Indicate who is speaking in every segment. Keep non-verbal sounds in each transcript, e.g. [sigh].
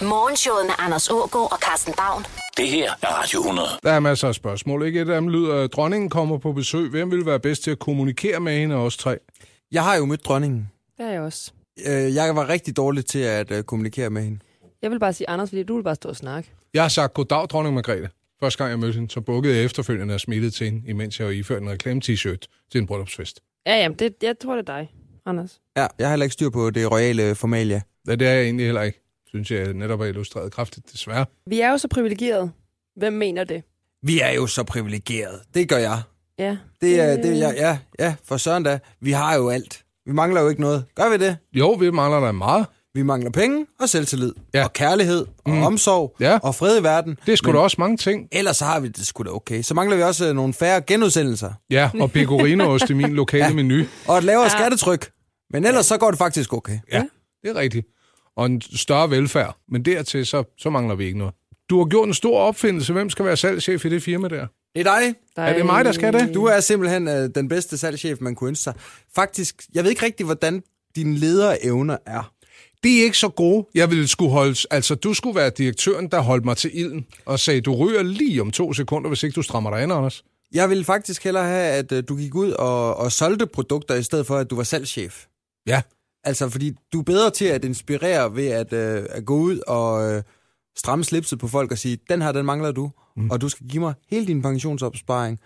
Speaker 1: Morgenshowet med Anders Ågaard og Carsten Baum.
Speaker 2: Det her er Radio 100.
Speaker 3: Der er masser af spørgsmål, ikke? Et af dem lyder, at dronningen kommer på besøg. Hvem vil være bedst til at kommunikere med hende og os tre?
Speaker 4: Jeg har jo mødt dronningen.
Speaker 5: Det er jeg også.
Speaker 4: Øh, Jeg var rigtig dårlig til at øh, kommunikere med hende.
Speaker 5: Jeg vil bare sige, Anders, fordi du vil bare stå og snakke.
Speaker 3: Jeg har sagt goddag, dronning Margrethe. Første gang jeg mødte hende, så bukkede jeg efterfølgende og smilede til hende, imens jeg var iført en reklame-t-shirt til en bryllupsfest.
Speaker 5: Ja, jamen, det, jeg tror, det er dig, Anders.
Speaker 4: Ja, jeg har heller ikke styr på det royale formalia.
Speaker 3: Ja, det er jeg egentlig heller ikke, synes jeg netop har illustreret kraftigt, desværre.
Speaker 5: Vi er jo så privilegerede. Hvem mener det?
Speaker 4: Vi er jo så privilegeret. Det gør jeg.
Speaker 5: Ja.
Speaker 4: Det er, det er jeg, ja, ja, for søren da. Vi har jo alt. Vi mangler jo ikke noget. Gør vi det?
Speaker 3: Jo, vi mangler der meget.
Speaker 4: Vi mangler penge og selvtillid.
Speaker 3: Ja.
Speaker 4: Og kærlighed og
Speaker 3: Mm.
Speaker 4: omsorg
Speaker 3: Ja.
Speaker 4: og fred i verden.
Speaker 3: Det er sgu da også mange ting.
Speaker 4: Ellers så har vi det sgu da okay. Så mangler vi også øh, nogle færre genudsendelser.
Speaker 3: Ja, og pecorino-ost i min lokale ja. menu.
Speaker 4: Og et lavere ja. skattetryk. Men ellers så går det faktisk okay.
Speaker 3: Ja, det er rigtigt. Og en større velfærd. Men dertil, så, så mangler vi ikke noget. Du har gjort en stor opfindelse. Hvem skal være salgschef i det firma der?
Speaker 4: Det er dig.
Speaker 5: Der
Speaker 3: Er det mig, der skal det?
Speaker 4: Du er simpelthen øh, den bedste salgschef, man kunne ønske sig. Faktisk, jeg ved ikke rigtig, hvordan dine lederevner er.
Speaker 3: De er ikke så gode. Jeg ville skulle holde... Altså, du skulle være direktøren, der holdt mig til ilden og sagde, du ryger lige om to sekunder, hvis ikke du strammer dig an, Anders.
Speaker 4: Jeg ville faktisk hellere have, at øh, du gik ud og, og solgte produkter, i stedet for, at du var salgschef.
Speaker 3: Ja.
Speaker 4: Altså, fordi du er bedre til at inspirere ved at, øh, at gå ud og øh, stramme slipset på folk og sige, den her, den mangler du, mm. og du skal give mig hele din pensionsopsparing.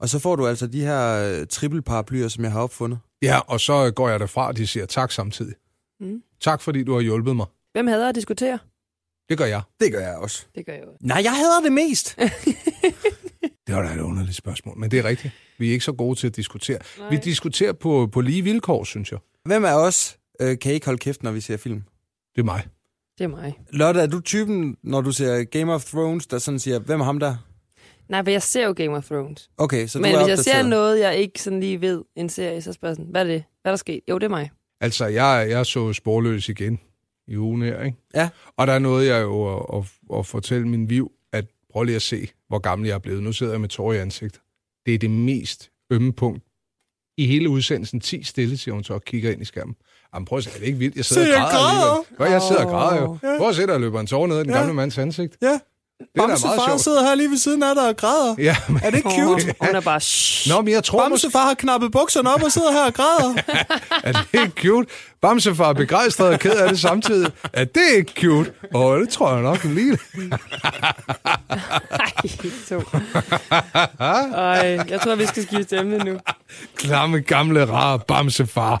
Speaker 4: Og så får du altså de her øh, trippelparaplyer, som jeg har opfundet.
Speaker 3: Ja, og så øh, går jeg derfra, og de siger tak samtidig.
Speaker 5: Mm.
Speaker 3: Tak, fordi du har hjulpet mig.
Speaker 5: Hvem hader at diskutere?
Speaker 3: Det gør jeg.
Speaker 4: Det gør jeg også.
Speaker 5: Det gør jeg jo.
Speaker 4: Nej, jeg hader det mest.
Speaker 3: Det var da et underligt spørgsmål, men det er rigtigt. Vi er ikke så gode til at diskutere. Nej.
Speaker 5: Nej.
Speaker 3: Vi diskuterer på, på lige vilkår, synes jeg.
Speaker 4: Hvem af os øh, kan ikke holde kæft, når vi ser film?
Speaker 3: Det er mig.
Speaker 5: Det er mig.
Speaker 4: Lotte, er du typen, når du ser Game of Thrones, der sådan siger, hvem er ham der?
Speaker 5: Nej, for jeg ser jo Game of Thrones.
Speaker 4: Okay, så
Speaker 5: Men
Speaker 4: du er
Speaker 5: hvis jeg ser
Speaker 4: opdateret.
Speaker 5: noget, jeg ikke sådan lige ved en serie, så spørger jeg sådan, hvad er det? Hvad er der sket? Jo, det er mig.
Speaker 3: Altså, jeg, jeg så sporløs igen i ugen her, ikke?
Speaker 4: Ja.
Speaker 3: Og der nåede jeg jo at, at, at fortælle min viv, at prøv lige at se, hvor gammel jeg er blevet. Nu sidder jeg med tårer i ansigtet. Det er det mest ømme punkt i hele udsendelsen. 10 stille, siger hun så og kigger ind i skærmen. Jamen prøv at se, er det ikke vildt? Jeg sidder
Speaker 4: Så
Speaker 3: og
Speaker 4: jeg
Speaker 3: græder.
Speaker 4: græder?
Speaker 3: alligevel. Hvad, jeg sidder og græder jo.
Speaker 4: Åh.
Speaker 3: Prøv at se, der løber en tårer ned af den
Speaker 4: Ja.
Speaker 3: gamle mands ansigt.
Speaker 4: Ja,
Speaker 3: Det er da meget sjovt.
Speaker 4: sidder her lige ved siden af dig og græder.
Speaker 3: Ja, men...
Speaker 4: Er det ikke cute?
Speaker 5: Åh, Hun er bare, shh. [laughs]
Speaker 3: Nå, men jeg tror måske,
Speaker 4: Bamsefar har knappet bukserne op og sidder her og græder.
Speaker 3: er det ikke cute? Bamsefar er begejstret og ked af det samtidig. Er det ikke cute? Åh, det tror jeg nok lige.
Speaker 5: Nej, to. Ej, jeg tror, vi skal skifte emne nu.
Speaker 3: Klamme, gamle, rare bamsefar.
Speaker 4: [laughs]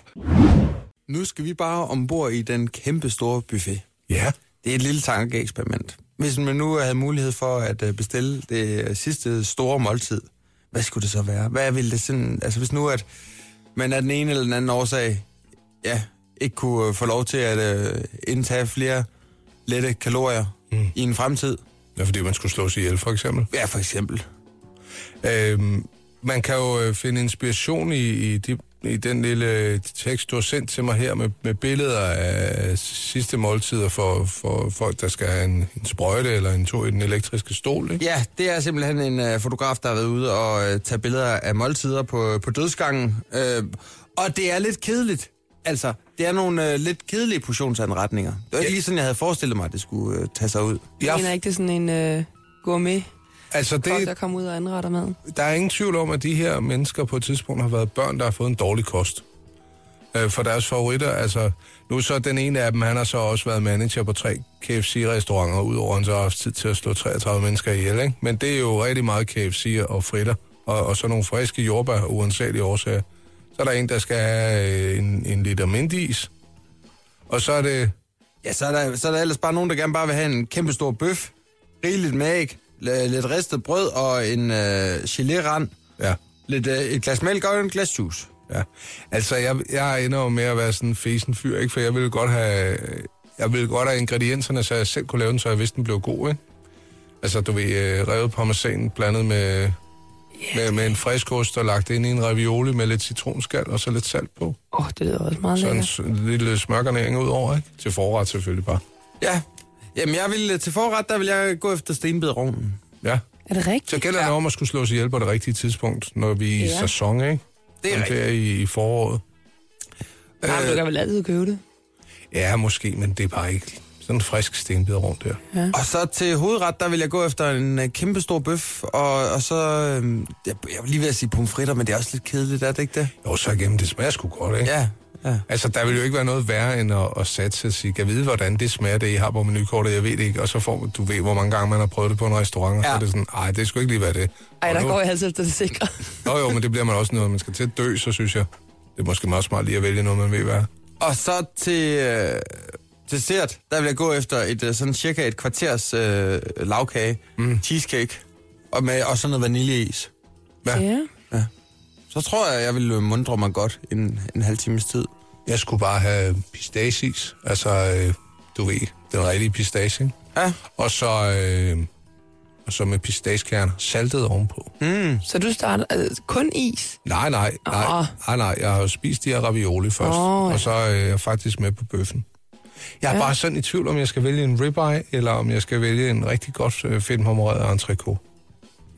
Speaker 4: Nu skal vi bare ombord i den kæmpe store buffet.
Speaker 3: Ja.
Speaker 4: Det er et lille tankeeksperiment. Hvis man nu havde mulighed for at øh, bestille det øh, sidste store måltid, hvad skulle det så være? Hvad ville det sådan... Altså hvis nu, at man af den ene eller den anden årsag ja, ikke kunne øh, få lov til at øh, indtage flere lette kalorier mm. i en fremtid.
Speaker 3: Ja, fordi man skulle slås ihjel, for eksempel.
Speaker 4: Ja, for eksempel.
Speaker 3: Øhm, man kan jo øh, finde inspiration i, i, de, i den lille tekst, du har sendt til mig her, med, med billeder af sidste måltider for, for folk, der skal have en, en sprøjte eller en tur i den elektriske stol, ikke?
Speaker 4: Ja, det er simpelthen en øh, fotograf, der har været ude og øh, tage billeder af måltider på, på dødsgangen. Øh, og det er lidt kedeligt. Altså, det er nogle øh, lidt kedelige portionsanretninger. Det var ikke lige sådan, jeg havde forestillet mig, at det skulle øh, tage sig ud.
Speaker 5: Jeg
Speaker 3: Jeg-
Speaker 5: mener ikke, det er sådan en øh, gourmet
Speaker 3: Altså,
Speaker 5: folk, der
Speaker 3: det,
Speaker 5: kommer ud og anretter mad.
Speaker 3: der er ingen tvivl om, at de her mennesker på et tidspunkt har været børn, der har fået en dårlig kost. Øh, for deres favoritter, altså... Nu er så den ene af dem, han har så også været manager på tre KFC-restauranter, udover at han så har haft tid til at slå 33 mennesker ihjel, ikke? Men det er jo rigtig meget KFC og fritter, og, og så nogle friske jordbær, uansagelige årsager. Så er der en, der skal have øh, en, en liter mindis, og så er det...
Speaker 4: Ja, så er, der, så er der ellers bare nogen, der gerne bare vil have en kæmpe stor bøf, rigeligt med æg, l- lidt ristet brød og en øh, gelérand,
Speaker 3: Ja,
Speaker 4: lidt, øh, et glas mælk og en glas juice.
Speaker 3: Ja, altså jeg, jeg ender jo med at være sådan en fesen fyr, ikke? For jeg ville godt have, jeg ville godt have ingredienserne, så jeg selv kunne lave den, så jeg vidste, den blev god, ikke? Altså, du ved, øh, revet parmesan blandet med, yeah. med, med en frisk ost og lagt ind i en ravioli med lidt citronskal og så lidt salt på.
Speaker 5: Åh, oh, det lyder også meget
Speaker 3: Så en
Speaker 5: lækkert.
Speaker 3: s- lille smørgarnering ud over, ikke? Til forret selvfølgelig bare.
Speaker 4: Ja, jamen jeg vil, øh, til forret, der vil jeg gå efter stenbidrovnen.
Speaker 3: Ja,
Speaker 5: Er det rigtigt?
Speaker 3: så gælder det om at skulle slås ihjel på det rigtige tidspunkt, når vi er i
Speaker 5: Ja.
Speaker 3: sæson, ikke?
Speaker 4: Det er
Speaker 3: Som
Speaker 4: rigtigt.
Speaker 3: der i, i foråret.
Speaker 5: Øh, Nej, men du kan vel altid købe det.
Speaker 3: Ja, måske, men det er bare ikke
Speaker 6: Sådan en frisk stenbid rundt der.
Speaker 4: Og så til hovedret, der vil jeg gå efter en øh, kæmpe stor bøf, og, og så... øhm, Jeg, jeg vil lige ved at sige pomfritter, men det er også lidt kedeligt, er det ikke det?
Speaker 6: Jo, så igennem, det smager sgu godt, ikke?
Speaker 4: Ja, ja.
Speaker 6: Altså, der vil jo ikke være noget værre end at, at satse og sige, kan vide, hvordan det smager, det I har på menukortet, jeg ved det ikke. Og så får man- du ved, hvor mange gange man har prøvet det på en restaurant, og ja. så
Speaker 4: Ja.
Speaker 6: er det sådan, nej, det skulle ikke lige være det.
Speaker 5: Ej,
Speaker 6: Og
Speaker 5: der
Speaker 6: nu-
Speaker 5: går jeg altså efter det sikre.
Speaker 6: Nå jo, men det bliver man også noget, man skal til at dø, så synes jeg. Det er måske meget smart lige at vælge noget, man ved hvad. er.
Speaker 4: Og så til, øh, til dessert, der vil jeg gå efter et øh, sådan cirka et kvarters øh, lavkage, mm. cheesecake, og, med, og sådan noget vaniljeis.
Speaker 6: Ja.
Speaker 3: Ja.
Speaker 4: Så tror jeg, jeg vil øh, mundre mig godt en, en halv times tid.
Speaker 6: Jeg skulle bare have pistacis, altså, øh, du ved, den rigtige pistache. ikke?
Speaker 4: Ja,
Speaker 6: Og så, øh, og så med pistachekerner, saltet ovenpå.
Speaker 5: Så du starter altså, kun is?
Speaker 6: Nej, nej, nej,
Speaker 5: Åh.
Speaker 6: nej, nej. Jeg har jo spist de her ravioli først,
Speaker 5: Åh, ja.
Speaker 6: og så er jeg faktisk med på bøffen. Jeg er ja. bare sådan i tvivl, om jeg skal vælge en ribeye, eller om jeg skal vælge en rigtig godt øh, fedtmarmoreret entrecôte.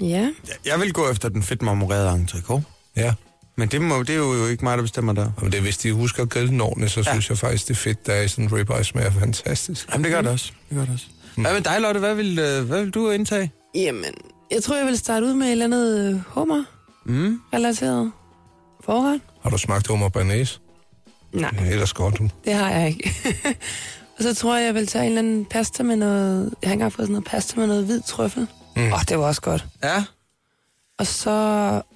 Speaker 3: Ja.
Speaker 4: jeg- jeg vil gå efter den fedt marmorerede entrecôte.
Speaker 6: Ja,
Speaker 4: Men det, må, det er jo ikke mig, der bestemmer der.
Speaker 6: men det, er, hvis de husker at grille den ordentligt, så ja. synes jeg faktisk, det fedt, der er i sådan en ribeye, smager fantastisk.
Speaker 4: Jamen, det gør det også. Det gør det også. Mm. Hvad med dig, Lotte? Hvad vil, øh, hvad vil du indtage?
Speaker 5: Jamen, jeg tror, jeg vil starte ud med et eller andet øh, Mm. hummer-relateret forret.
Speaker 6: Har du smagt hummer banæs?
Speaker 5: Nej,
Speaker 6: Ja, ellers godt. du.
Speaker 5: det har jeg ikke. [laughs] og så tror jeg, jeg vil tage en eller anden pasta med noget... Jeg har ikke engang fået sådan noget pasta med noget hvid trøffel. Åh, mm. oh, det var også godt.
Speaker 4: Ja.
Speaker 5: Og så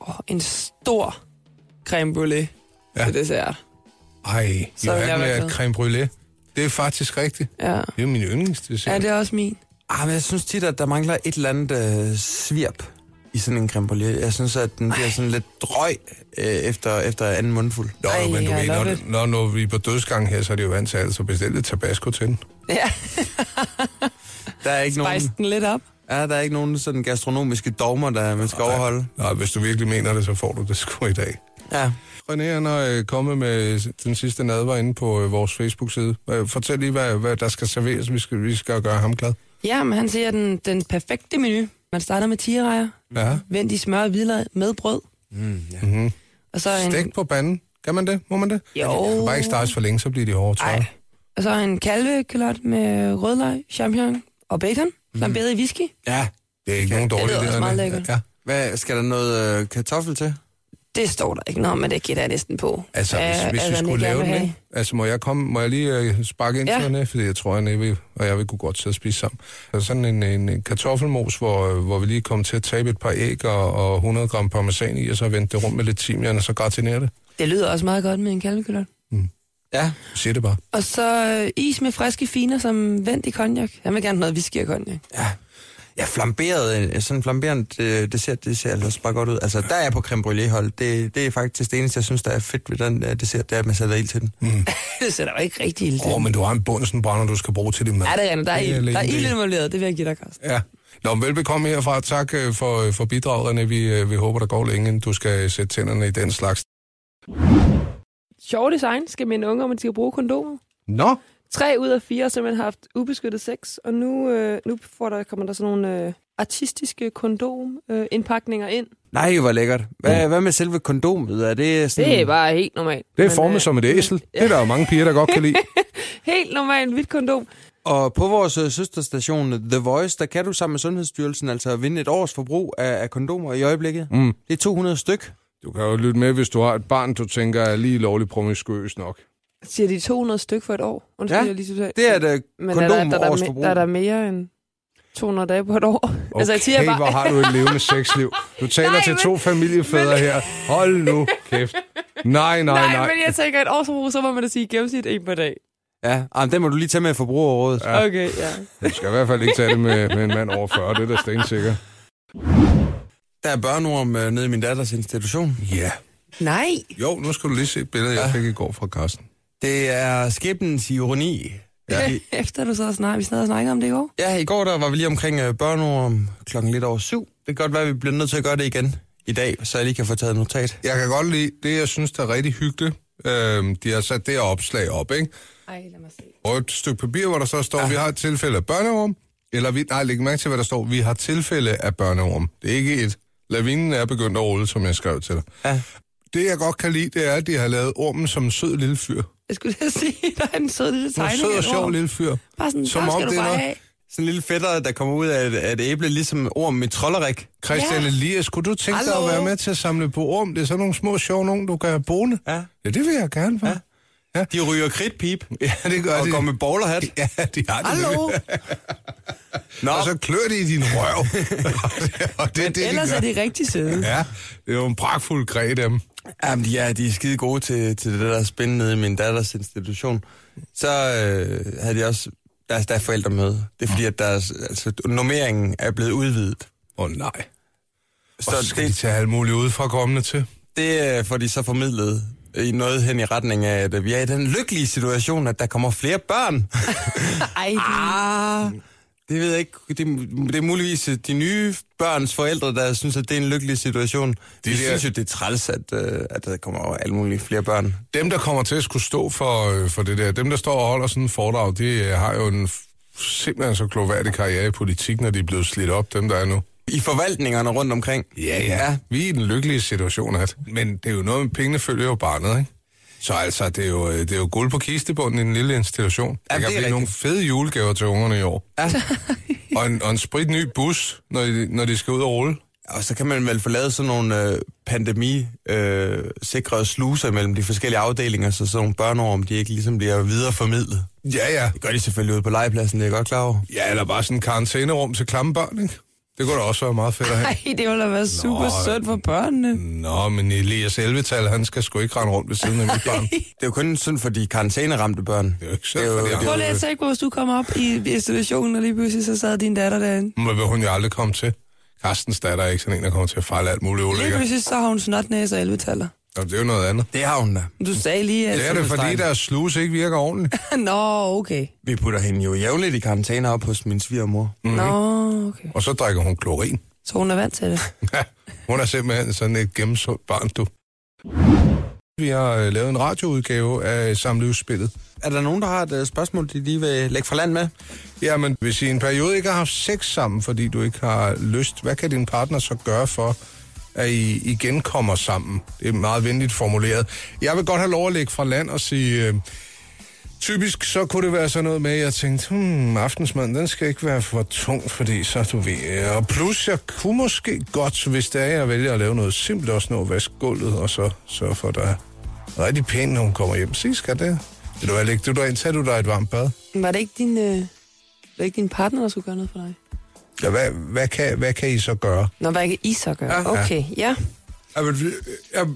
Speaker 5: oh, en stor creme brulee
Speaker 6: Ja.
Speaker 5: ja. til dessert.
Speaker 6: Ej,
Speaker 5: Så
Speaker 6: jo
Speaker 5: vil jeg
Speaker 6: er
Speaker 5: være
Speaker 6: med
Speaker 5: glad.
Speaker 6: creme brulee. Det er faktisk rigtigt.
Speaker 5: Ja.
Speaker 6: Det er min yndlingsdessert.
Speaker 5: ja, det er også min.
Speaker 4: Ah, men jeg synes tit, at der mangler et eller andet øh, svirp i sådan en creme brulee. Jeg synes, at den bliver sådan lidt drøg øh, efter, efter anden mundfuld.
Speaker 6: Nå, Ej,
Speaker 5: Ej,
Speaker 6: men du
Speaker 5: I
Speaker 6: ved,
Speaker 5: love
Speaker 6: når,
Speaker 5: it.
Speaker 6: når, når vi er på dødsgang her, så er det jo vant til altså bestilte tabasco til den.
Speaker 5: Ja,
Speaker 4: Der er ikke nogen,
Speaker 5: spice den lidt op.
Speaker 4: ja, der er ikke nogen sådan gastronomiske dogmer, der man skal overholde.
Speaker 6: Nej, hvis du virkelig mener det, så får du det sgu i dag.
Speaker 4: Ja.
Speaker 6: René, han er øh, kommet med den sidste nadver inde på øh, vores Facebook-side. Øh, fortæl lige, hvad, hvad der skal serveres, vi skal, vi skal gøre ham glad.
Speaker 5: Ja, men han siger den, den perfekte menu. Man starter med tigerejer,
Speaker 6: Ja.
Speaker 5: vendt i smør og hvidløg med brød. Mm, ja. Og så en,
Speaker 6: Mm-hmm. Stegt på panden. Kan man det? Må man det?
Speaker 5: Jo.
Speaker 6: Bare ikke startes for længe, så bliver de hårde tørre.
Speaker 5: Ej. Og så en kalvekalot med rødløg, champignon og bacon,
Speaker 6: Mm-hmm.
Speaker 5: flamberet i whisky.
Speaker 4: ja.
Speaker 6: Det er ikke nogen dårlige
Speaker 5: lyder også
Speaker 6: idéer,
Speaker 5: meget
Speaker 6: René.
Speaker 5: lækkert.
Speaker 6: Ja.
Speaker 4: Hvad, skal der noget øh, kartoffel til?
Speaker 5: Det står der ikke noget om, men det gætter jeg næsten på.
Speaker 6: Altså, hvis,
Speaker 5: at-
Speaker 6: hvis
Speaker 5: at
Speaker 6: vi
Speaker 5: han
Speaker 6: skulle
Speaker 5: ikke
Speaker 6: lave
Speaker 5: gerne
Speaker 6: den,
Speaker 5: vil
Speaker 6: ikke? Altså, må jeg, komme, må jeg lige øh, sparke ind ja.
Speaker 5: Ja.
Speaker 6: til René? Fordi jeg tror, René vil, og jeg vil kunne godt sidde og spise sammen. Altså sådan en, en, en kartoffelmos, hvor, øh, hvor vi lige kommer til at tabe et par æg og, og 100 gram parmesan i, og så vente det rum med lidt timian, og så gratinere det.
Speaker 5: have. Det lyder også meget godt med en kalvekalot.
Speaker 4: Ja.
Speaker 6: Sig det bare.
Speaker 5: Og så øh, is med friske finer som vendt i konjak. Jeg vil gerne have noget whisky og konjak.
Speaker 4: Ja, flamberet, øh, sådan en flamberende øh, dessert, det ser altså bare godt ud. Altså, der er jeg på creme brulee-hold. Det, det er faktisk det eneste, jeg synes, der er fedt ved den øh, dessert, det er, at man sætter ild til den.
Speaker 5: [laughs] det sætter jo ikke rigtig ild til.
Speaker 6: Åh, oh, men du har en bunsenbrænder, du skal bruge til din mad.
Speaker 5: Ja, det er rent. Der er
Speaker 6: Det er
Speaker 5: ild, der er
Speaker 6: alene
Speaker 5: ild
Speaker 6: det.
Speaker 5: involveret. Det vil jeg give dig, Karsten.
Speaker 6: Ja. Nå, men velbekomme herfra. Tak øh, for, øh, for bidraget, René. Vi, øh, vi håber, der går længe, inden du skal øh, sætte tænderne i den slags.
Speaker 3: Sjov design skal minde unge om, at de skal bruge kondomer.
Speaker 6: Nå,
Speaker 3: Tre ud af fire har simpelthen haft ubeskyttet sex, og nu, øh, nu får der, kommer der sådan nogle øh, artistiske kondomindpakninger øh, indpakninger ind.
Speaker 4: Nej, hvor lækkert. Hvad, hvad med selve kondomet? Er det sådan...
Speaker 3: Det er bare helt normalt.
Speaker 6: Mm. det er
Speaker 3: Men,
Speaker 6: formet
Speaker 3: øh,
Speaker 6: som et æsel. Det er der jo mange piger, der godt kan lide.
Speaker 3: Helt normalt hvidt kondom.
Speaker 4: Og på vores øh, søsterstation The Voice, der kan du sammen med Sundhedsstyrelsen altså vinde et års forbrug af, af kondomer i øjeblikket. Mm. Det er 200 styk.
Speaker 6: Du kan jo lytte med, hvis du har et barn, du tænker er lige lovligt promiskuøs nok.
Speaker 3: Siger de 200 styk for et år? Undskyld,
Speaker 4: Ja,
Speaker 3: jeg lige synes,
Speaker 4: Det er et øh,
Speaker 3: Men er der, der, der, der,
Speaker 4: kondomårsforbrug.
Speaker 3: der, er der mere end 200 dage på et år? [laughs] Okay, altså, jeg siger
Speaker 6: hvor
Speaker 3: bare,
Speaker 6: har du et levende sexliv. Du taler
Speaker 3: Nej,
Speaker 6: til
Speaker 3: men-
Speaker 6: to familiefædre
Speaker 3: men-
Speaker 6: her. Hold nu kæft.
Speaker 3: [laughs]
Speaker 6: Nej, nej,
Speaker 3: nej,
Speaker 6: nej.
Speaker 3: men jeg tænker, et årsforbrug, så må man da sige gennemsnit en per dag.
Speaker 4: Ja, ah, men den må du lige tage med i forbrugerrådet. Ja.
Speaker 6: Ja.
Speaker 3: Okay, ja.
Speaker 6: Du skal i hvert fald ikke tage det med, med en mand over 40, det er da
Speaker 3: [laughs]
Speaker 6: stensikker.
Speaker 4: Der er børneorm øh, nede i min datters institution.
Speaker 6: Ja.
Speaker 5: Nej.
Speaker 6: Jo, nu skal du lige se et billede, jeg fik i går fra Carsten.
Speaker 4: Det er skæbnens ironi. Ja. I,
Speaker 5: [laughs] Efter du så snakker, vi snakker, snakker om det i går.
Speaker 4: ja, i går der var vi lige omkring øh, børneorm klokken lidt over syv. Det kan godt være, at vi bliver nødt til at gøre det igen i dag, så jeg lige kan få taget et notat.
Speaker 6: Jeg kan godt lide det, jeg synes, der er rigtig hyggeligt. Øhm, de har sat det her opslag op, ikke?
Speaker 3: Ej, lad mig se.
Speaker 6: Og et stykke papir, hvor der så står, vi har et tilfælde af børneorm. Eller vi, nej, læg mærke til, hvad der står. Vi har tilfælde af børneorm. Det er ikke et. Lavinen er begyndt at rulle, som jeg skrev til dig.
Speaker 4: Ja.
Speaker 6: Det, jeg godt kan lide, det er, at de har lavet ormen som en sød lille fyr.
Speaker 5: Jeg skulle
Speaker 3: [laughs]
Speaker 5: da sige, der er en sød lille
Speaker 6: En
Speaker 5: tegning.
Speaker 6: sød
Speaker 5: af
Speaker 6: og
Speaker 5: en
Speaker 6: sjov
Speaker 5: orm.
Speaker 6: lille fyr.
Speaker 5: Bare sådan,
Speaker 6: Som
Speaker 5: der
Speaker 6: om
Speaker 5: skal
Speaker 6: det
Speaker 5: du
Speaker 6: er
Speaker 5: bare
Speaker 6: noget-
Speaker 5: have.
Speaker 4: Sådan en lille fætter, der kommer ud af et, af et æble, ligesom orm i trollerik.
Speaker 6: Christian
Speaker 5: Ja.
Speaker 6: Elias, kunne du tænke dig
Speaker 4: Hallo.
Speaker 6: at være med til at samle på orm? Det er sådan nogle små sjove nogen, du kan have boende.
Speaker 4: Ja.
Speaker 6: Ja, det vil jeg gerne være.
Speaker 4: De ryger kridtpip
Speaker 6: Ja, det gør
Speaker 4: og
Speaker 6: de.
Speaker 4: går med bowlerhat.
Speaker 6: [laughs] Ja, de har det.
Speaker 4: Hallo?
Speaker 6: nemlig.
Speaker 4: Nå,
Speaker 6: Og så klør det i din røv. og [laughs] det er det, de
Speaker 5: Ellers
Speaker 6: gør.
Speaker 5: er de rigtig
Speaker 6: [laughs]
Speaker 5: søde.
Speaker 6: Ja, det er jo en pragtfuld grej, dem.
Speaker 4: Jamen, de er, de er skide gode til, til det der spændende nede i min datters institution. Så øh, havde de også, altså, der er forældremøde. Det er fordi, at deres, altså, normeringen er blevet udvidet.
Speaker 6: Åh oh, nej.
Speaker 4: Så
Speaker 6: Så og så skal det... de
Speaker 4: det,
Speaker 6: tage alt muligt udefra kommende til.
Speaker 4: det øh, får de så formidlet i noget hen i retning af, at øh, vi er i den lykkelige situation, at der kommer flere børn.
Speaker 5: Ej,
Speaker 4: ah, det ved jeg ikke. Det, er- det er muligvis øh, de nye børns forældre, der synes, at det er en lykkelig situation. De,
Speaker 6: der-
Speaker 4: de synes jo, det er træls, at, øh, at der kommer alle mulige flere børn.
Speaker 6: Dem, der kommer til at skulle stå for, øh, for det der, dem, der står og holder sådan en foredrag, de øh, har jo en f- simpelthen så kloværdig karriere i politik, når de er blevet slidt op, dem der er nu.
Speaker 4: I forvaltningerne rundt omkring.
Speaker 6: ja. Vi er i den lykkelige situation, at. Men det er jo noget med, pengene følger jo barnet, ikke? Så altså, det er jo, øh, det er jo guld på kistebunden i den lille institution. Der
Speaker 4: Jamen,
Speaker 6: kan
Speaker 4: det er
Speaker 6: blive nogle fede julegaver til ungerne i år.
Speaker 4: Ja.
Speaker 6: [laughs] Og en, og en spritny bus, når de, når de skal ud og rulle.
Speaker 4: Og så kan man vel få lavet sådan nogle øh, pandemisikrede øh, sluser mellem de forskellige afdelinger, så sådan nogle børneorm, de ikke ligesom bliver videreformidlet.
Speaker 6: Ja, ja.
Speaker 4: Det gør de selvfølgelig ude på legepladsen, det er jeg godt klar over.
Speaker 6: Ja, eller bare sådan en karantænerum til klamme børn, ikke? Det kunne da også være meget fedt at have.
Speaker 5: Ej, det ville da være super
Speaker 6: Nå. øh.
Speaker 5: sødt for børnene.
Speaker 6: Nå, men Elias Elvetal, han skal sgu ikke rende rundt ved siden af mit barn. Det
Speaker 4: Det er jo kun synd for de karantæneramte børn.
Speaker 6: er jo ikke selv for det.
Speaker 5: Prøv
Speaker 6: andre.
Speaker 5: lige at tænke på, hvis du kom op i institutionen, og lige pludselig så sad din datter derinde.
Speaker 6: Men vil hun jo aldrig komme til. Carstens datter er ikke sådan en, der kommer til at fejle alt muligt
Speaker 5: Lige
Speaker 6: ulækkert.
Speaker 5: pludselig så har hun snotnæs og 11 taller.
Speaker 6: Nå, det er jo noget andet.
Speaker 4: Det har hun da.
Speaker 5: Du sagde lige, at...
Speaker 6: Det er det, fordi deres sluse ikke virker ordentligt.
Speaker 5: [laughs] Nå, okay.
Speaker 4: Vi putter hende jo jævnligt i karantæne op hos min svigermor.
Speaker 6: Mhm.
Speaker 5: Mm-hmm. Nå, okay.
Speaker 6: Og så drikker hun klorin.
Speaker 5: Så hun er vant til det.
Speaker 6: Ja, hun er simpelthen sådan et gennemsundt barn, du. Vi har øh, lavet en radioudgave af samlivsspillet.
Speaker 4: Er der nogen, der har et øh, spørgsmål, de lige vil lægge fra land med?
Speaker 6: Jamen, hvis I i en periode ikke har haft sex sammen, fordi du ikke har lyst, hvad kan din partner så gøre for, at I igen kommer sammen? Det er meget venligt formuleret. Jeg vil godt have lov at lægge fra land og sige... Øh, typisk så kunne det være sådan noget med, at jeg tænkte, hmm, aftensmaden, den skal ikke være for tung, fordi så du ved... øh, Og plus, jeg kunne måske godt, hvis det er, jeg vælger at lave noget simpelt, også nå at vaske gulvet, og så sørge for, at der er rigtig pænt, når hun kommer hjem. Se, skal det? Vil du have lægge du derind? Tag du dig et varmt bad?
Speaker 5: Var det ikke din, øh... var det ikke din partner, der skulle gøre noget for dig?
Speaker 6: Ja, hvad, hvad, kan, hvad kan I så gøre?
Speaker 5: Nå, hvad kan I så gøre?
Speaker 4: Ja.
Speaker 5: okay, ja.
Speaker 4: Jeg, jeg,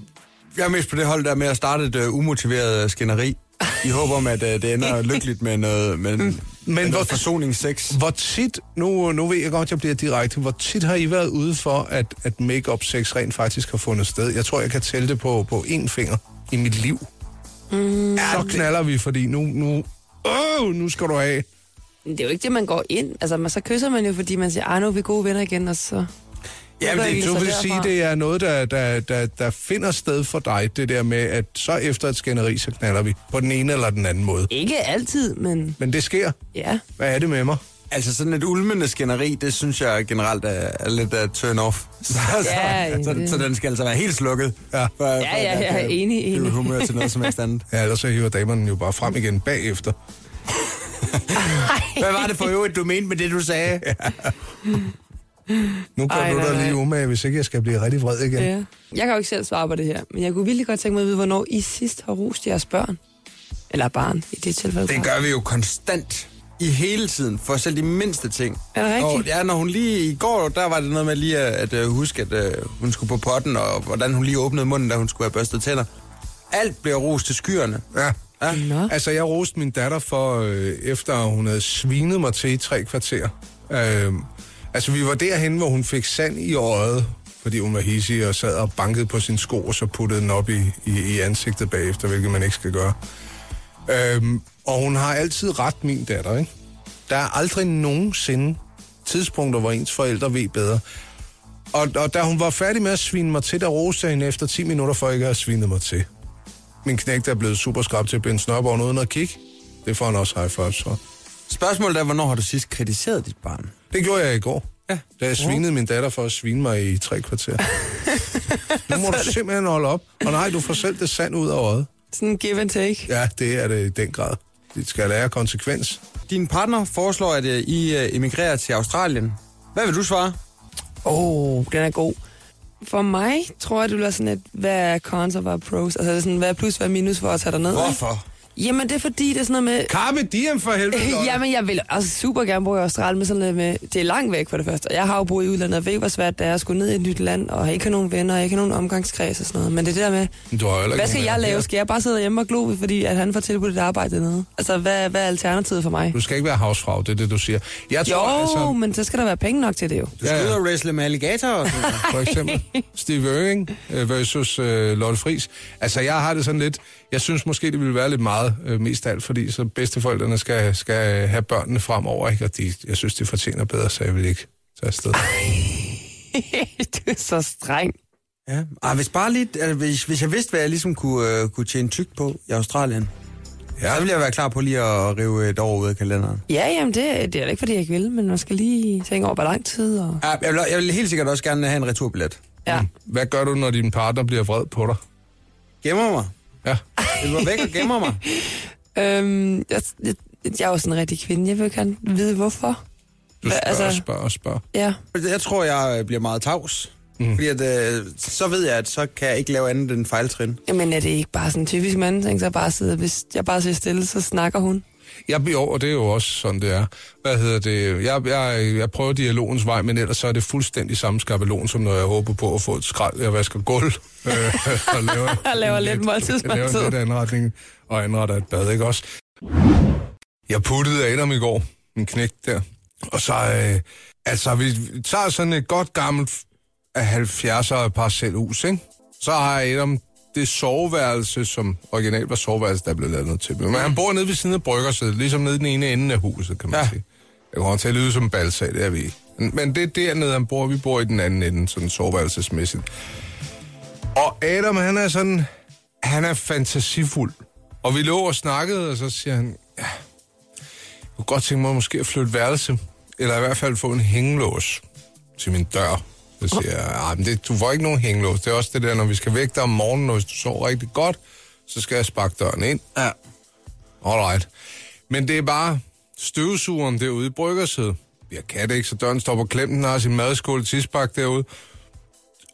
Speaker 4: jeg er mest på det hold der med at starte et uh, umotiveret øh, skænderi. I håber om, at uh, det [laughs] ender lykkeligt med noget, med, med noget
Speaker 6: hvor-
Speaker 4: forsoningssex.
Speaker 6: Hvor tit, nu, nu ved jeg godt, jeg bliver direkte, hvor tit har I været ude for, at, at make-up sex rent faktisk har fundet sted? Jeg tror, jeg kan tælle det på, på én finger i mit liv. Mm. Så knaller vi, fordi nu, nu, øh, nu skal du af.
Speaker 5: Men det er jo ikke det, man går ind. Altså, man, så kysser man jo, fordi man siger, ah, nu er vi gode venner igen, og så...
Speaker 4: Jamen, det-
Speaker 5: udvikler
Speaker 6: Du
Speaker 5: sig
Speaker 6: vil
Speaker 5: derfra.
Speaker 6: sige, det er noget, der, der, der, der finder sted for dig, det der med, at så efter et skænderi, så knaller vi på den ene eller den anden måde.
Speaker 5: Ikke altid, men
Speaker 6: Men det sker.
Speaker 5: ja.
Speaker 6: Hvad er det med mig?
Speaker 4: Altså sådan et ulmende skænderi, det synes jeg generelt er, er lidt af turn [laughs] off. Så,
Speaker 5: Ja,
Speaker 4: så, så,
Speaker 5: det-
Speaker 4: så, den skal altså være helt slukket.
Speaker 6: Ja.
Speaker 4: for, ja,
Speaker 5: ja, ja, enig, enig.
Speaker 4: humør til noget som helst [laughs] andet.
Speaker 6: Ja, ellers så hiver damerne jo bare frem igen bagefter.
Speaker 4: Hvad var det for øvrigt, du mente med det, du sagde?
Speaker 6: Nu gør
Speaker 5: Ej,
Speaker 6: du
Speaker 5: nej,
Speaker 6: dig
Speaker 5: nej.
Speaker 6: lige umage, hvis ikke jeg skal blive rigtig vred igen.
Speaker 5: ja. Jeg kan jo ikke selv svare på det her, men jeg kunne virkelig godt tænke mig at vide, hvornår I sidst har rost jeres børn. Eller barn, i det tilfælde.
Speaker 4: Det gør vi jo konstant. I hele tiden, for selv de mindste ting.
Speaker 5: Er det rigtigt?
Speaker 4: Og, ja, når hun lige i går, der var det noget med lige at, at øh, huske, at øh, hun skulle på potten, og hvordan hun lige åbnede munden, da hun skulle have børstet tænder. Alt bliver rost til skyerne.
Speaker 6: Ja.
Speaker 4: Ja.
Speaker 5: Nå.
Speaker 6: Altså, jeg roste min datter for, øh, efter hun havde svinet mig til i tre kvarter. Øh, altså, vi var derhen, hvor hun fik sand i øjet, fordi hun var hissig og sad og bankede på sin sko, og så puttede den op i, i, i ansigtet bagefter, hvilket man ikke skal gøre. Øhm, og hun har altid ret, min datter, ikke? Der er aldrig nogensinde tidspunkter, hvor ens forældre ved bedre. Og, og da hun var færdig med at svine mig til, der roste jeg hende efter 10 minutter, for ikke at have svinet mig til. Min knægt er blevet super skrab til at binde snørborgen uden at kigge. Det får han også high five for.
Speaker 4: Spørgsmålet er, hvornår har du sidst kritiseret dit barn?
Speaker 6: Det gjorde jeg i går.
Speaker 4: Ja.
Speaker 6: Da jeg svinede min datter for at svine mig i tre kvarter. Nu må du simpelthen holde op. Og nej, du får selv det sand ud af øjet.
Speaker 5: Sådan give and take.
Speaker 6: Ja, det er det i den grad. Det skal lære konsekvens.
Speaker 4: Din partner foreslår, at øh, I øh, emigrerer til Australien. Hvad vil du svare?
Speaker 5: Åh, oh, den er god. For mig tror jeg, det bliver sådan et, hvad er cons og hvad er pros? Altså det er sådan, hvad er plus, hvad er minus for at tage derned? ikke?
Speaker 4: Hvorfor?
Speaker 5: Jamen det er fordi, det er sådan noget med...
Speaker 6: Carpe diem for
Speaker 3: Øh,
Speaker 6: helvede. Lotte.
Speaker 5: [laughs] Jamen, jeg vil også super gerne bo i Australien, men sådan noget med, det er langt væk for det første. Og Jeg har jo boet i udlandet, og ved ikke, hvor svært det er at skulle ned i et nyt land, og ikke have nogen venner, og ikke have nogen omgangskreds og sådan noget. Men det er det der med,
Speaker 6: Du har jo heller ikke
Speaker 5: hvad skal
Speaker 6: nogen
Speaker 5: jeg
Speaker 6: venner
Speaker 5: lave?
Speaker 6: her.
Speaker 5: Skal jeg bare sidde hjemme og glo, fordi at han får tilbudt et arbejde dernede? Altså, hvad, hvad er alternativet for mig?
Speaker 6: Du skal ikke være havsfrag, det er det, du siger. Jeg
Speaker 5: Jo,
Speaker 6: tror, altså,
Speaker 5: men så skal der være penge nok til det jo. [laughs]
Speaker 4: Du skal
Speaker 6: Ja,
Speaker 4: ud
Speaker 6: ja.
Speaker 4: og wrestle med alligatorer. og sådan noget.
Speaker 6: for eksempel Steve Irving øh, versus øh, Lotte Friis. Altså, jeg har det sådan lidt... Jeg synes måske, det ville være lidt meget øh, mest af alt, fordi så bedsteforældrene skal, skal have børnene fremover, ikke? Og de, jeg synes, de fortjener bedre, så jeg vil ikke tage afsted.
Speaker 5: du er så streng.
Speaker 4: Ja. Ah, hvis, bare lige, altså, hvis, hvis jeg vidste, hvad jeg ligesom kunne, øh, kunne tjene tygt på i Australien, ja. så ville jeg være klar på lige at rive et år ud af kalenderen.
Speaker 5: Ja, jamen det, det er da ikke, fordi jeg ikke vil, men man skal lige tænke over, hvor lang tid. Og...
Speaker 4: Ja, Ah, jeg, vil, jeg vil helt sikkert også gerne have en returbillet.
Speaker 5: Ja.
Speaker 6: Hvad gør du, når din partner bliver vred på dig?
Speaker 4: Gemmer mig.
Speaker 6: Ja.
Speaker 4: Jeg går væk og gemmer mig.
Speaker 5: Øhm, jeg, jeg, jeg er jo sådan en rigtig kvinde. Jeg vil gerne vide, hvorfor.
Speaker 6: Du spørger
Speaker 5: altså-
Speaker 6: og spørger og spørger.
Speaker 5: Ja.
Speaker 4: Jeg tror, jeg øh, bliver meget tavs. Mm. Fordi at, øh, så ved jeg, at så kan jeg ikke lave andet end fejltrin.
Speaker 5: Men er det ikke bare sådan en typisk mand, ting, så bare sidder, hvis jeg bare sidder stille, så snakker hun.
Speaker 6: Jeg bliver over, det er jo også sådan, det er. Hvad hedder det? Jeg, jeg, jeg prøver dialogens vej, men ellers så er det fuldstændig samme skabelon, som når jeg håber på at få et skrald, jeg vasker gulv. Øh, [laughs] og laver,
Speaker 5: Jeg laver
Speaker 6: en
Speaker 5: lidt
Speaker 6: Jeg laver
Speaker 5: måltidsmåltid.
Speaker 6: en lidt anretning og anretter et bad, ikke også? Jeg puttede Adam i går, en knæk der. Og så, øh, altså, vi tager sådan et godt gammelt af 70'er parcelhus, ikke? Så har Adam det soveværelse, som originalt var soveværelse, der blev lavet noget til. Men han bor nede ved siden af bryggersædet, ligesom nede i den ene ende af huset, kan man ja.
Speaker 4: Ja.
Speaker 6: sige. Jeg kommer til at lyde som en balsag, det er vi ikke. Men det er dernede, han bor. Vi bor i den anden ende, sådan soveværelsesmæssigt. Og Adam, han er sådan... Han er fantasifuld. Og vi lå og snakkede, og så siger han... Ja, jeg kunne godt tænke mig måske at flytte værelse. Eller i hvert fald få en hængelås til min dør. Så siger jeg, "Ah, men det, du får ikke nogen hængelås. Det er også det der, når vi skal vække dig om morgenen, og hvis du sover rigtig godt, så skal jeg sparke døren ind.
Speaker 4: Ja.
Speaker 6: Alright. Men det er bare støvsugeren derude i bryggersædet. Jeg kan det ikke, så døren står på klem, den har sin madskål og tidsbak derude.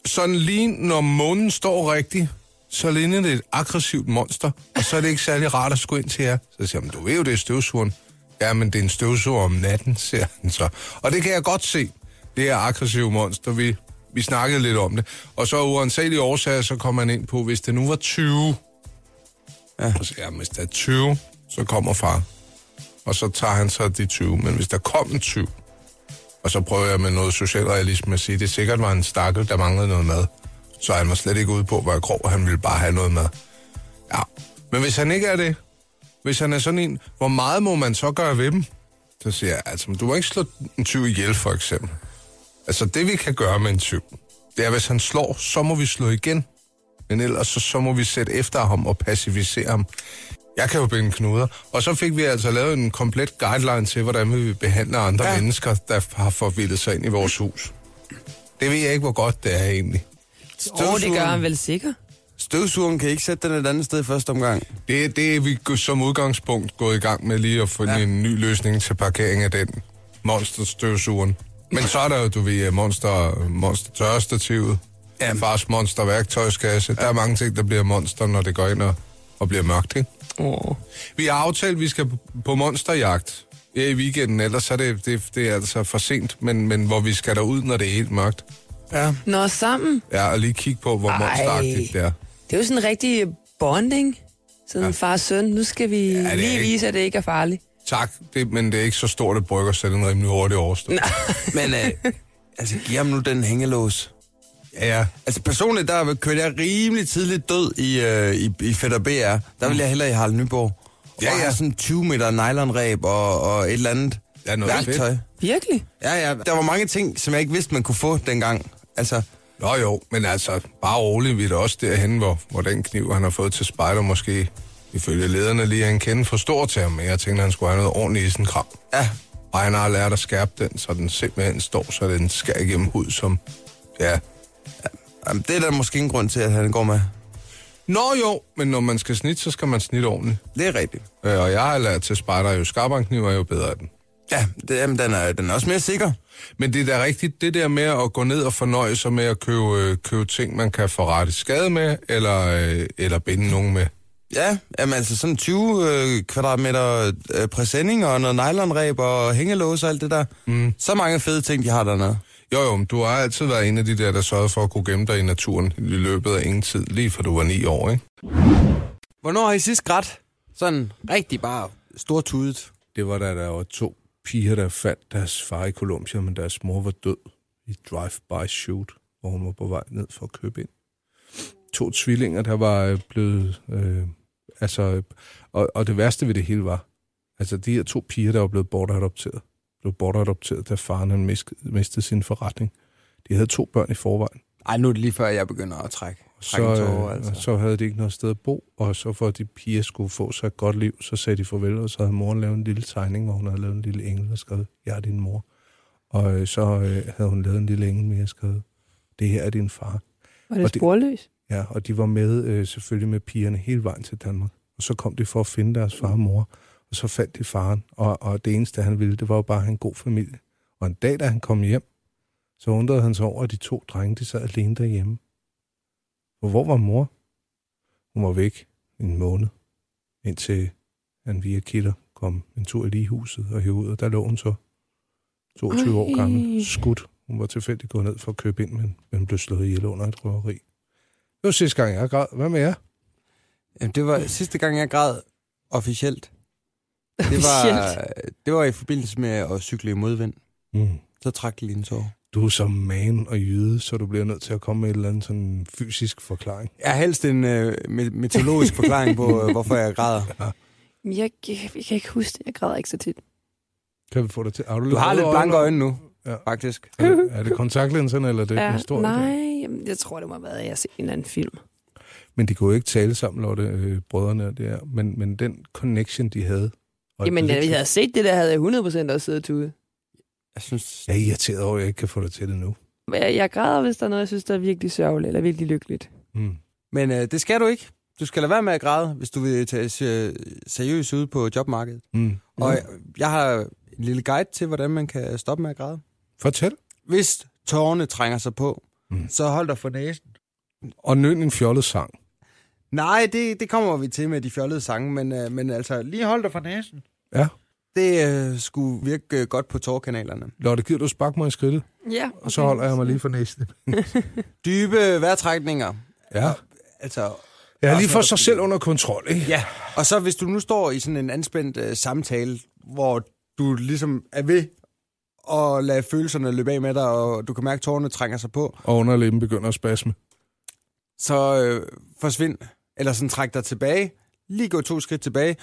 Speaker 6: Sådan lige når månen står rigtigt, så ligner det et aggressivt monster, og så er det ikke særlig rart at skulle ind til jer. Så siger jeg, "Men du ved jo, det er støvsugeren. Ja, men det er en støvsuger om natten, [laughs] siger han så. Og det kan jeg godt se. Det er aggressive monster, vi, vi snakkede lidt om det. Og så af uansagelige årsager, så kom han ind på, hvis det nu var 20, og så, ja, hvis der er 20, så kommer far. Og så tager han så de 20. Men hvis der kom en 20, og så prøver jeg med noget socialrealisme at sige, det sikkert var en stakkel, der manglede noget mad. Så han var slet ikke ude på, hvor grov, han ville bare have noget mad. Ja, men hvis han ikke er det, hvis han er sådan en, hvor meget må man så gøre ved dem? Så siger jeg, altså, men du må ikke slå en 20 ihjel, for eksempel. Altså, det vi kan gøre med en 20, det er, hvis han slår, så må vi slå igen. Men ellers så, så må vi sætte efter ham og passivisere ham. Jeg kan jo binde knuder. Og så fik vi altså lavet en komplet guideline til, hvordan vi vil behandle andre ja. mennesker, der har forvildet sig ind i vores hus. Det ved jeg ikke, hvor godt det er egentlig.
Speaker 5: Åh, oh, det gør han vel sikkert.
Speaker 4: Støvsugeren kan ikke sætte den et andet sted første omgang.
Speaker 6: Det, det er vi g- som udgangspunkt gået i gang med lige at finde ja.
Speaker 4: Ja.
Speaker 6: en ny løsning til parkering af den monsterstøvsugeren. Men så er der jo, du ved, øh, monster, monster tørrestativet, ja. fars monster værktøjskasse. Ja. Der er mange ting, der bliver monster, når det går ind og, og bliver mørkt, ikke?
Speaker 5: Oh.
Speaker 6: Vi har aftalt, at vi skal på monsterjagt her i weekenden, ellers er det, det, det er altså for sent, men, men hvor vi skal derud, når det er helt mørkt.
Speaker 4: Ja.
Speaker 5: Nå, sammen.
Speaker 6: Ja, og lige kigge på, hvor
Speaker 5: Ej.
Speaker 6: monsteragtigt det er.
Speaker 5: Det er jo sådan en rigtig bonding. Sådan ja. far og søn. Nu skal vi
Speaker 6: er
Speaker 5: ja, lige
Speaker 6: ikke-
Speaker 5: vise, at det ikke er farligt.
Speaker 6: Tak, det, men det er ikke så stort et brygger, så den rimelig hurtigt overstået.
Speaker 4: Men øh, altså, giv ham nu den hængelås.
Speaker 6: Ja, ja.
Speaker 4: Altså personligt, der kørte jeg rimelig tidligt død i, øh, i, i Fætter BR. Der ville jeg hellere i Harald Nyborg. Og
Speaker 6: Ja,
Speaker 4: bare
Speaker 6: ja.
Speaker 4: have sådan 20 meter nylonræb og, og et eller andet
Speaker 6: Ja, noget
Speaker 4: værktøj.
Speaker 5: Virkelig?
Speaker 4: Ja, ja. Der var mange ting, som jeg ikke vidste, man kunne få dengang. Altså,
Speaker 6: Nå jo, men altså, bare roligt, vi er da også derhen, hvor, hvor den kniv, han har fået til spejder, måske ifølge lederne lige er en kende for stor til ham, men jeg tænkte, han skulle have noget ordentligt i sin kram.
Speaker 4: ja.
Speaker 6: Og han har lært at skærpe den, så den simpelthen står, så den skærer igennem hud som, ja,
Speaker 4: Jamen, det er der måske en grund til, at han går med.
Speaker 6: Nå jo, men når man skal snitte, så skal man snitte ordentligt.
Speaker 4: Det er rigtigt.
Speaker 6: Øh, og jeg har lært til spejder, jo skarpere en kniv er, jo bedre er den.
Speaker 4: Ja, det, jamen, den, er, den er også mere sikker.
Speaker 6: Men det er da rigtigt, det der med at gå ned og fornøje sig med at købe, øh, købe ting, man kan forrette skade med, eller, øh, eller binde nogen med.
Speaker 4: Ja, jamen, altså sådan 20 øh, kvadratmeter øh, præsending og noget nylonræb og hængelås og alt det der. Mm. Så mange fede ting, de har dernede.
Speaker 6: Jo jo, men du har altid været en af de der, der sørgede for at kunne gemme dig i naturen i løbet af ingen tid, lige fra du var ni år, ikke?
Speaker 4: Hvornår har I sidst grædt? Sådan rigtig bare stortudet.
Speaker 6: Det var da der var to piger, der fandt deres far i Colombia, men deres mor var død i drive-by shoot, hvor hun var på vej ned for at købe ind. To tvillinger, der var øh, blevet... Øh, altså, øh, og, og det værste ved det hele var, altså de her to piger, der var blevet bortadopteret, blev bortadopteret, da faren han misk- mistede sin forretning. De havde to børn i forvejen.
Speaker 4: Ej, nu er det lige før, jeg begynder at trække.
Speaker 6: Så, øh, altså. så havde de ikke noget sted at bo, og så for at de piger skulle få sig et godt liv, så sagde de farvel, og så havde moren lavet en lille tegning, hvor hun havde lavet en lille engel og skrevet, jeg er din mor. Og øh, så øh, havde hun lavet en lille engel mere og skrevet, det her er din far.
Speaker 3: Var
Speaker 6: Og
Speaker 3: det
Speaker 6: det-
Speaker 3: sporløs?
Speaker 6: Ja, og de var med øh, selvfølgelig med pigerne hele vejen til Danmark. Og så kom de for at finde deres far og mor, og så fandt de faren. Og, og det eneste, han ville, det var jo bare at have en god familie. Og en dag, da han kom hjem, så undrede han sig over, at de to drenge, de sad alene derhjemme. Og hvor var mor? Hun var væk en måned, indtil han via kilder kom en tur i ligehuset og hævde ud, og der lå hun så 22 Ej. år
Speaker 3: Ej.
Speaker 6: gammel, skudt. Hun var tilfældigt gået ned for at købe ind, men, men blev slået ihjel under et røveri. Det var sidste gang, jeg græd. Hvad med jer?
Speaker 4: Jamen, det [laughs] var sidste gang, jeg græd officielt. Det var,
Speaker 3: Officielt.
Speaker 4: det var i forbindelse med at cykle i modvind.
Speaker 6: Mm.
Speaker 4: Så trak det lige en tår.
Speaker 6: Du er som man og jyde, så du bliver nødt til at komme med et eller andet sådan fysisk forklaring.
Speaker 4: Jeg har helst en øh, me- meteorologisk forklaring på, øh, hvorfor jeg [laughs] græder.
Speaker 3: Jeg, jeg, jeg kan ikke huske det. Jeg græder ikke så tit.
Speaker 6: Kan vi få dig til? Har du,
Speaker 4: Du har lidt blanke øjne nu,
Speaker 6: Ja.
Speaker 4: faktisk.
Speaker 6: Er det, er det kontaktlinserne, eller er det ja, historie?
Speaker 3: nej, jamen, jeg tror, det må have været, at jeg har set en eller anden film.
Speaker 6: Men de kunne jo ikke tale sammen, Lotte, øh, brødrene og det her. Men, men den connection, de havde... Og
Speaker 3: Jamen, da
Speaker 6: det,
Speaker 3: vi havde set det der, havde jeg 100% også siddet ude.
Speaker 4: Jeg synes,
Speaker 6: Jeg er irriteret over, at jeg ikke kan få dig til det nu.
Speaker 3: Jeg, jeg græder, hvis der er noget, jeg synes, der er virkelig sørgeligt eller virkelig lykkeligt.
Speaker 6: Mm.
Speaker 4: Men øh, det skal du ikke. Du skal lade være med at græde, hvis du vil tage se- seriøst ud på jobmarkedet.
Speaker 6: Mm.
Speaker 4: Mm. Og jeg, jeg har en lille guide til, hvordan man kan stoppe med at græde.
Speaker 6: Fortæl.
Speaker 4: Hvis tårerne trænger sig på,
Speaker 6: Mm.
Speaker 4: mm. så hold dig for næsen.
Speaker 6: Og nøn en fjollet sang.
Speaker 4: Nej, det, det kommer vi til med de fjollede sange, men, øh, men altså, lige hold dig for næsen.
Speaker 6: Ja.
Speaker 4: Det øh, skulle virke øh, godt på tårkanalerne.
Speaker 6: Lotte, gider du sparke mig i skridtet?
Speaker 3: Ja,
Speaker 6: Og så holder jeg mig lige for næsten.
Speaker 4: Dybe vejrtrækninger.
Speaker 6: Ja.
Speaker 4: Altså,
Speaker 6: Ja, lige for sig selv under kontrol, ikke?
Speaker 4: Ja, og så hvis du nu står i sådan en anspændt øh, samtale, hvor du ligesom er ved at lade følelserne løbe af med dig, og du kan mærke, at tårerne trænger sig på,
Speaker 6: Og underlæben begynder at spasme.
Speaker 4: så øh, forsvind, eller sådan træk dig tilbage. Lige gå to skridt tilbage.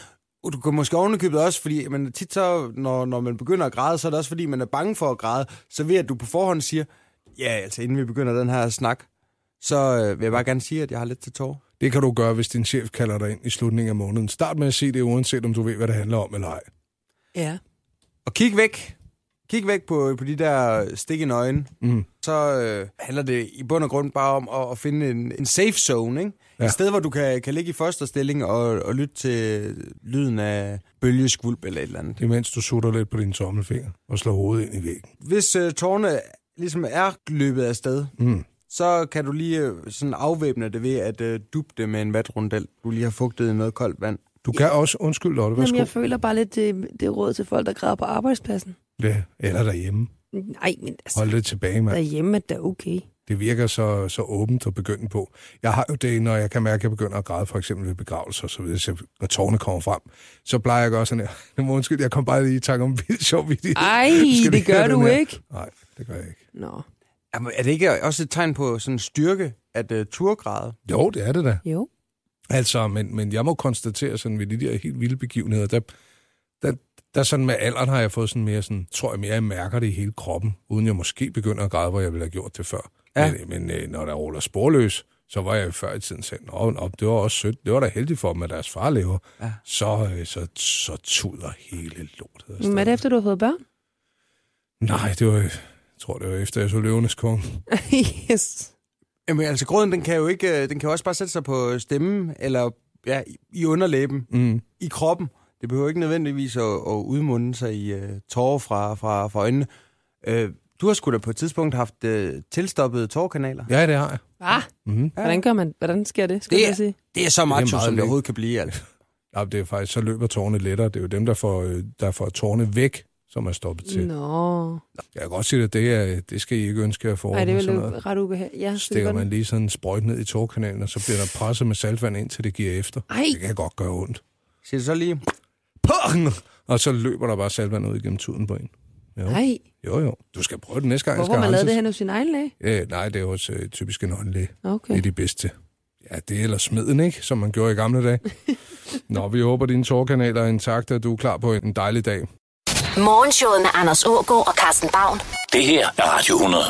Speaker 4: Og Du kan måske ovenikøbet også, fordi man tit så, når, når man begynder at græde, så er det også fordi, man er bange for at græde. Så ved at du på forhånd siger, ja, altså inden vi begynder den her snak, så øh, vil jeg bare gerne sige, at jeg har lidt til tårer.
Speaker 6: Det kan du gøre, hvis din chef kalder dig ind i slutningen af måneden. Start med at sige det, uanset om du ved, hvad det handler om eller ej.
Speaker 5: Ja.
Speaker 4: Og kig væk. Kig væk på, på de der stik i nøgen.
Speaker 6: Mm.
Speaker 4: Så øh, handler det i bund og grund bare om at, at finde en, en safe zone, ikke? Ja.
Speaker 6: Ja.
Speaker 4: Et sted, hvor du kan, kan ligge i fosterstilling og, og lytte til lyden af bølgeskvulp eller et eller andet.
Speaker 6: Imens du sutter lidt på dine tommelfinger og slår hovedet ind i væggen.
Speaker 4: Hvis øh, tårne ligesom er løbet af sted,
Speaker 6: Mm.
Speaker 4: så kan du lige øh, sådan afvæbne det ved at øh, dubbe det med en vatrundel. Du lige har fugtet i noget koldt vand.
Speaker 6: Du kan også... Undskyld, Lotte,
Speaker 5: Jamen,
Speaker 6: værsgo.
Speaker 5: jeg føler bare lidt det, det råd til folk, der græder på arbejdspladsen.
Speaker 6: Ja, eller derhjemme.
Speaker 5: Nej, men altså,
Speaker 6: Hold det tilbage, mand.
Speaker 5: derhjemme er det da okay.
Speaker 6: Det virker så, så åbent at begynde på. Jeg har jo det, når jeg kan mærke, at jeg begynder at græde, for eksempel ved begravelser og så videre, så når tårne kommer frem, så plejer jeg at gøre sådan her. [laughs] Nu må undskyld, jeg kom bare lige i tanke om en vild sjov video.
Speaker 5: Ej,
Speaker 6: Skal
Speaker 5: det
Speaker 6: høre
Speaker 5: gør
Speaker 6: den
Speaker 5: du
Speaker 6: her?
Speaker 5: ikke.
Speaker 6: Nej, det gør jeg ikke.
Speaker 5: Nå,
Speaker 4: Jamen, er det ikke også et tegn på sådan styrke, at øh, turgræde?
Speaker 6: Jo, det er det da.
Speaker 5: jo.
Speaker 6: Altså, men, men jeg må konstatere sådan ved de der helt vilde begivenheder, der, der, der sådan med alderen har jeg fået sådan mere sådan, tror jeg mere, jeg mærker det i hele kroppen, uden jeg måske begynder at græde, hvor jeg ville have gjort det før.
Speaker 4: Ja.
Speaker 6: Ja. Men, men øh, når der ruller sporløs, så var jeg jo før i tiden selv, nå, nå, det var også sødt, det var da heldigt for dem, at deres far lever.
Speaker 4: Ja.
Speaker 6: Ja. Så, øh, så, så tuder hele lortet Altså. afsted.
Speaker 3: Men er det efter, du har fået børn?
Speaker 6: Nej, det var, jeg tror det var efter, jeg så løvenes konge.
Speaker 3: yes.
Speaker 4: Jamen altså, gråden, den kan jo ikke, øh, den kan jo også bare sætte sig på stemmen, eller ja, i- i underlæben, mm. i kroppen. Det behøver ikke nødvendigvis at, at udmunde sig i uh, tårer fra, fra, fra øjnene. Uh, du har sgu da på et tidspunkt haft uh, tilstoppet tårerkanaler.
Speaker 6: Ja, det har jeg.
Speaker 5: Ah, mm-hmm. hvordan, gør man, hvordan sker det, skal
Speaker 4: Det
Speaker 5: det
Speaker 4: er-
Speaker 5: jeg sige?
Speaker 4: Det er så macho, det
Speaker 6: meget
Speaker 4: som det
Speaker 6: lækkert.
Speaker 4: overhovedet kan blive. Altså.
Speaker 6: Ja, det er faktisk, så løber tårne lettere. Det er jo dem, der får, øh, der får tårne væk, som er stoppet til.
Speaker 5: Nå,
Speaker 6: Jeg kan godt sige, at det, er, det skal I ikke ønske jer for.
Speaker 5: Ej, det er vel ret ubehageligt. Ja, det er
Speaker 6: Stikker
Speaker 5: godt.
Speaker 6: man lige sådan en sprøjt ned i tårkanalen, og så bliver der presset med saltvand, indtil det giver efter.
Speaker 5: Ej.
Speaker 6: Det kan godt gøre ondt.
Speaker 4: Siger du så lige,
Speaker 6: Pang! Og så løber der bare saltvand ud igennem tuden på en. Jo.
Speaker 5: Nej,
Speaker 6: jo, jo. Du skal prøve det næste gang.
Speaker 5: hvor
Speaker 6: jeg skal
Speaker 5: har man lavet det
Speaker 6: renses.
Speaker 5: hen hos sin egen læge?
Speaker 6: Øh, nej, det er hos øh, typisk en håndlæge.
Speaker 5: Okay.
Speaker 6: Det er de bedste. Ja, det er ellers smeden, ikke? Som man gjorde i gamle
Speaker 5: [laughs]
Speaker 6: dage. Nå, vi håber, dine tårkanaler er intakte, og du er klar på en dejlig dag.
Speaker 1: Morgenshowet med Anders Ågaard og Carsten Baum.
Speaker 2: Det her er Radio 100.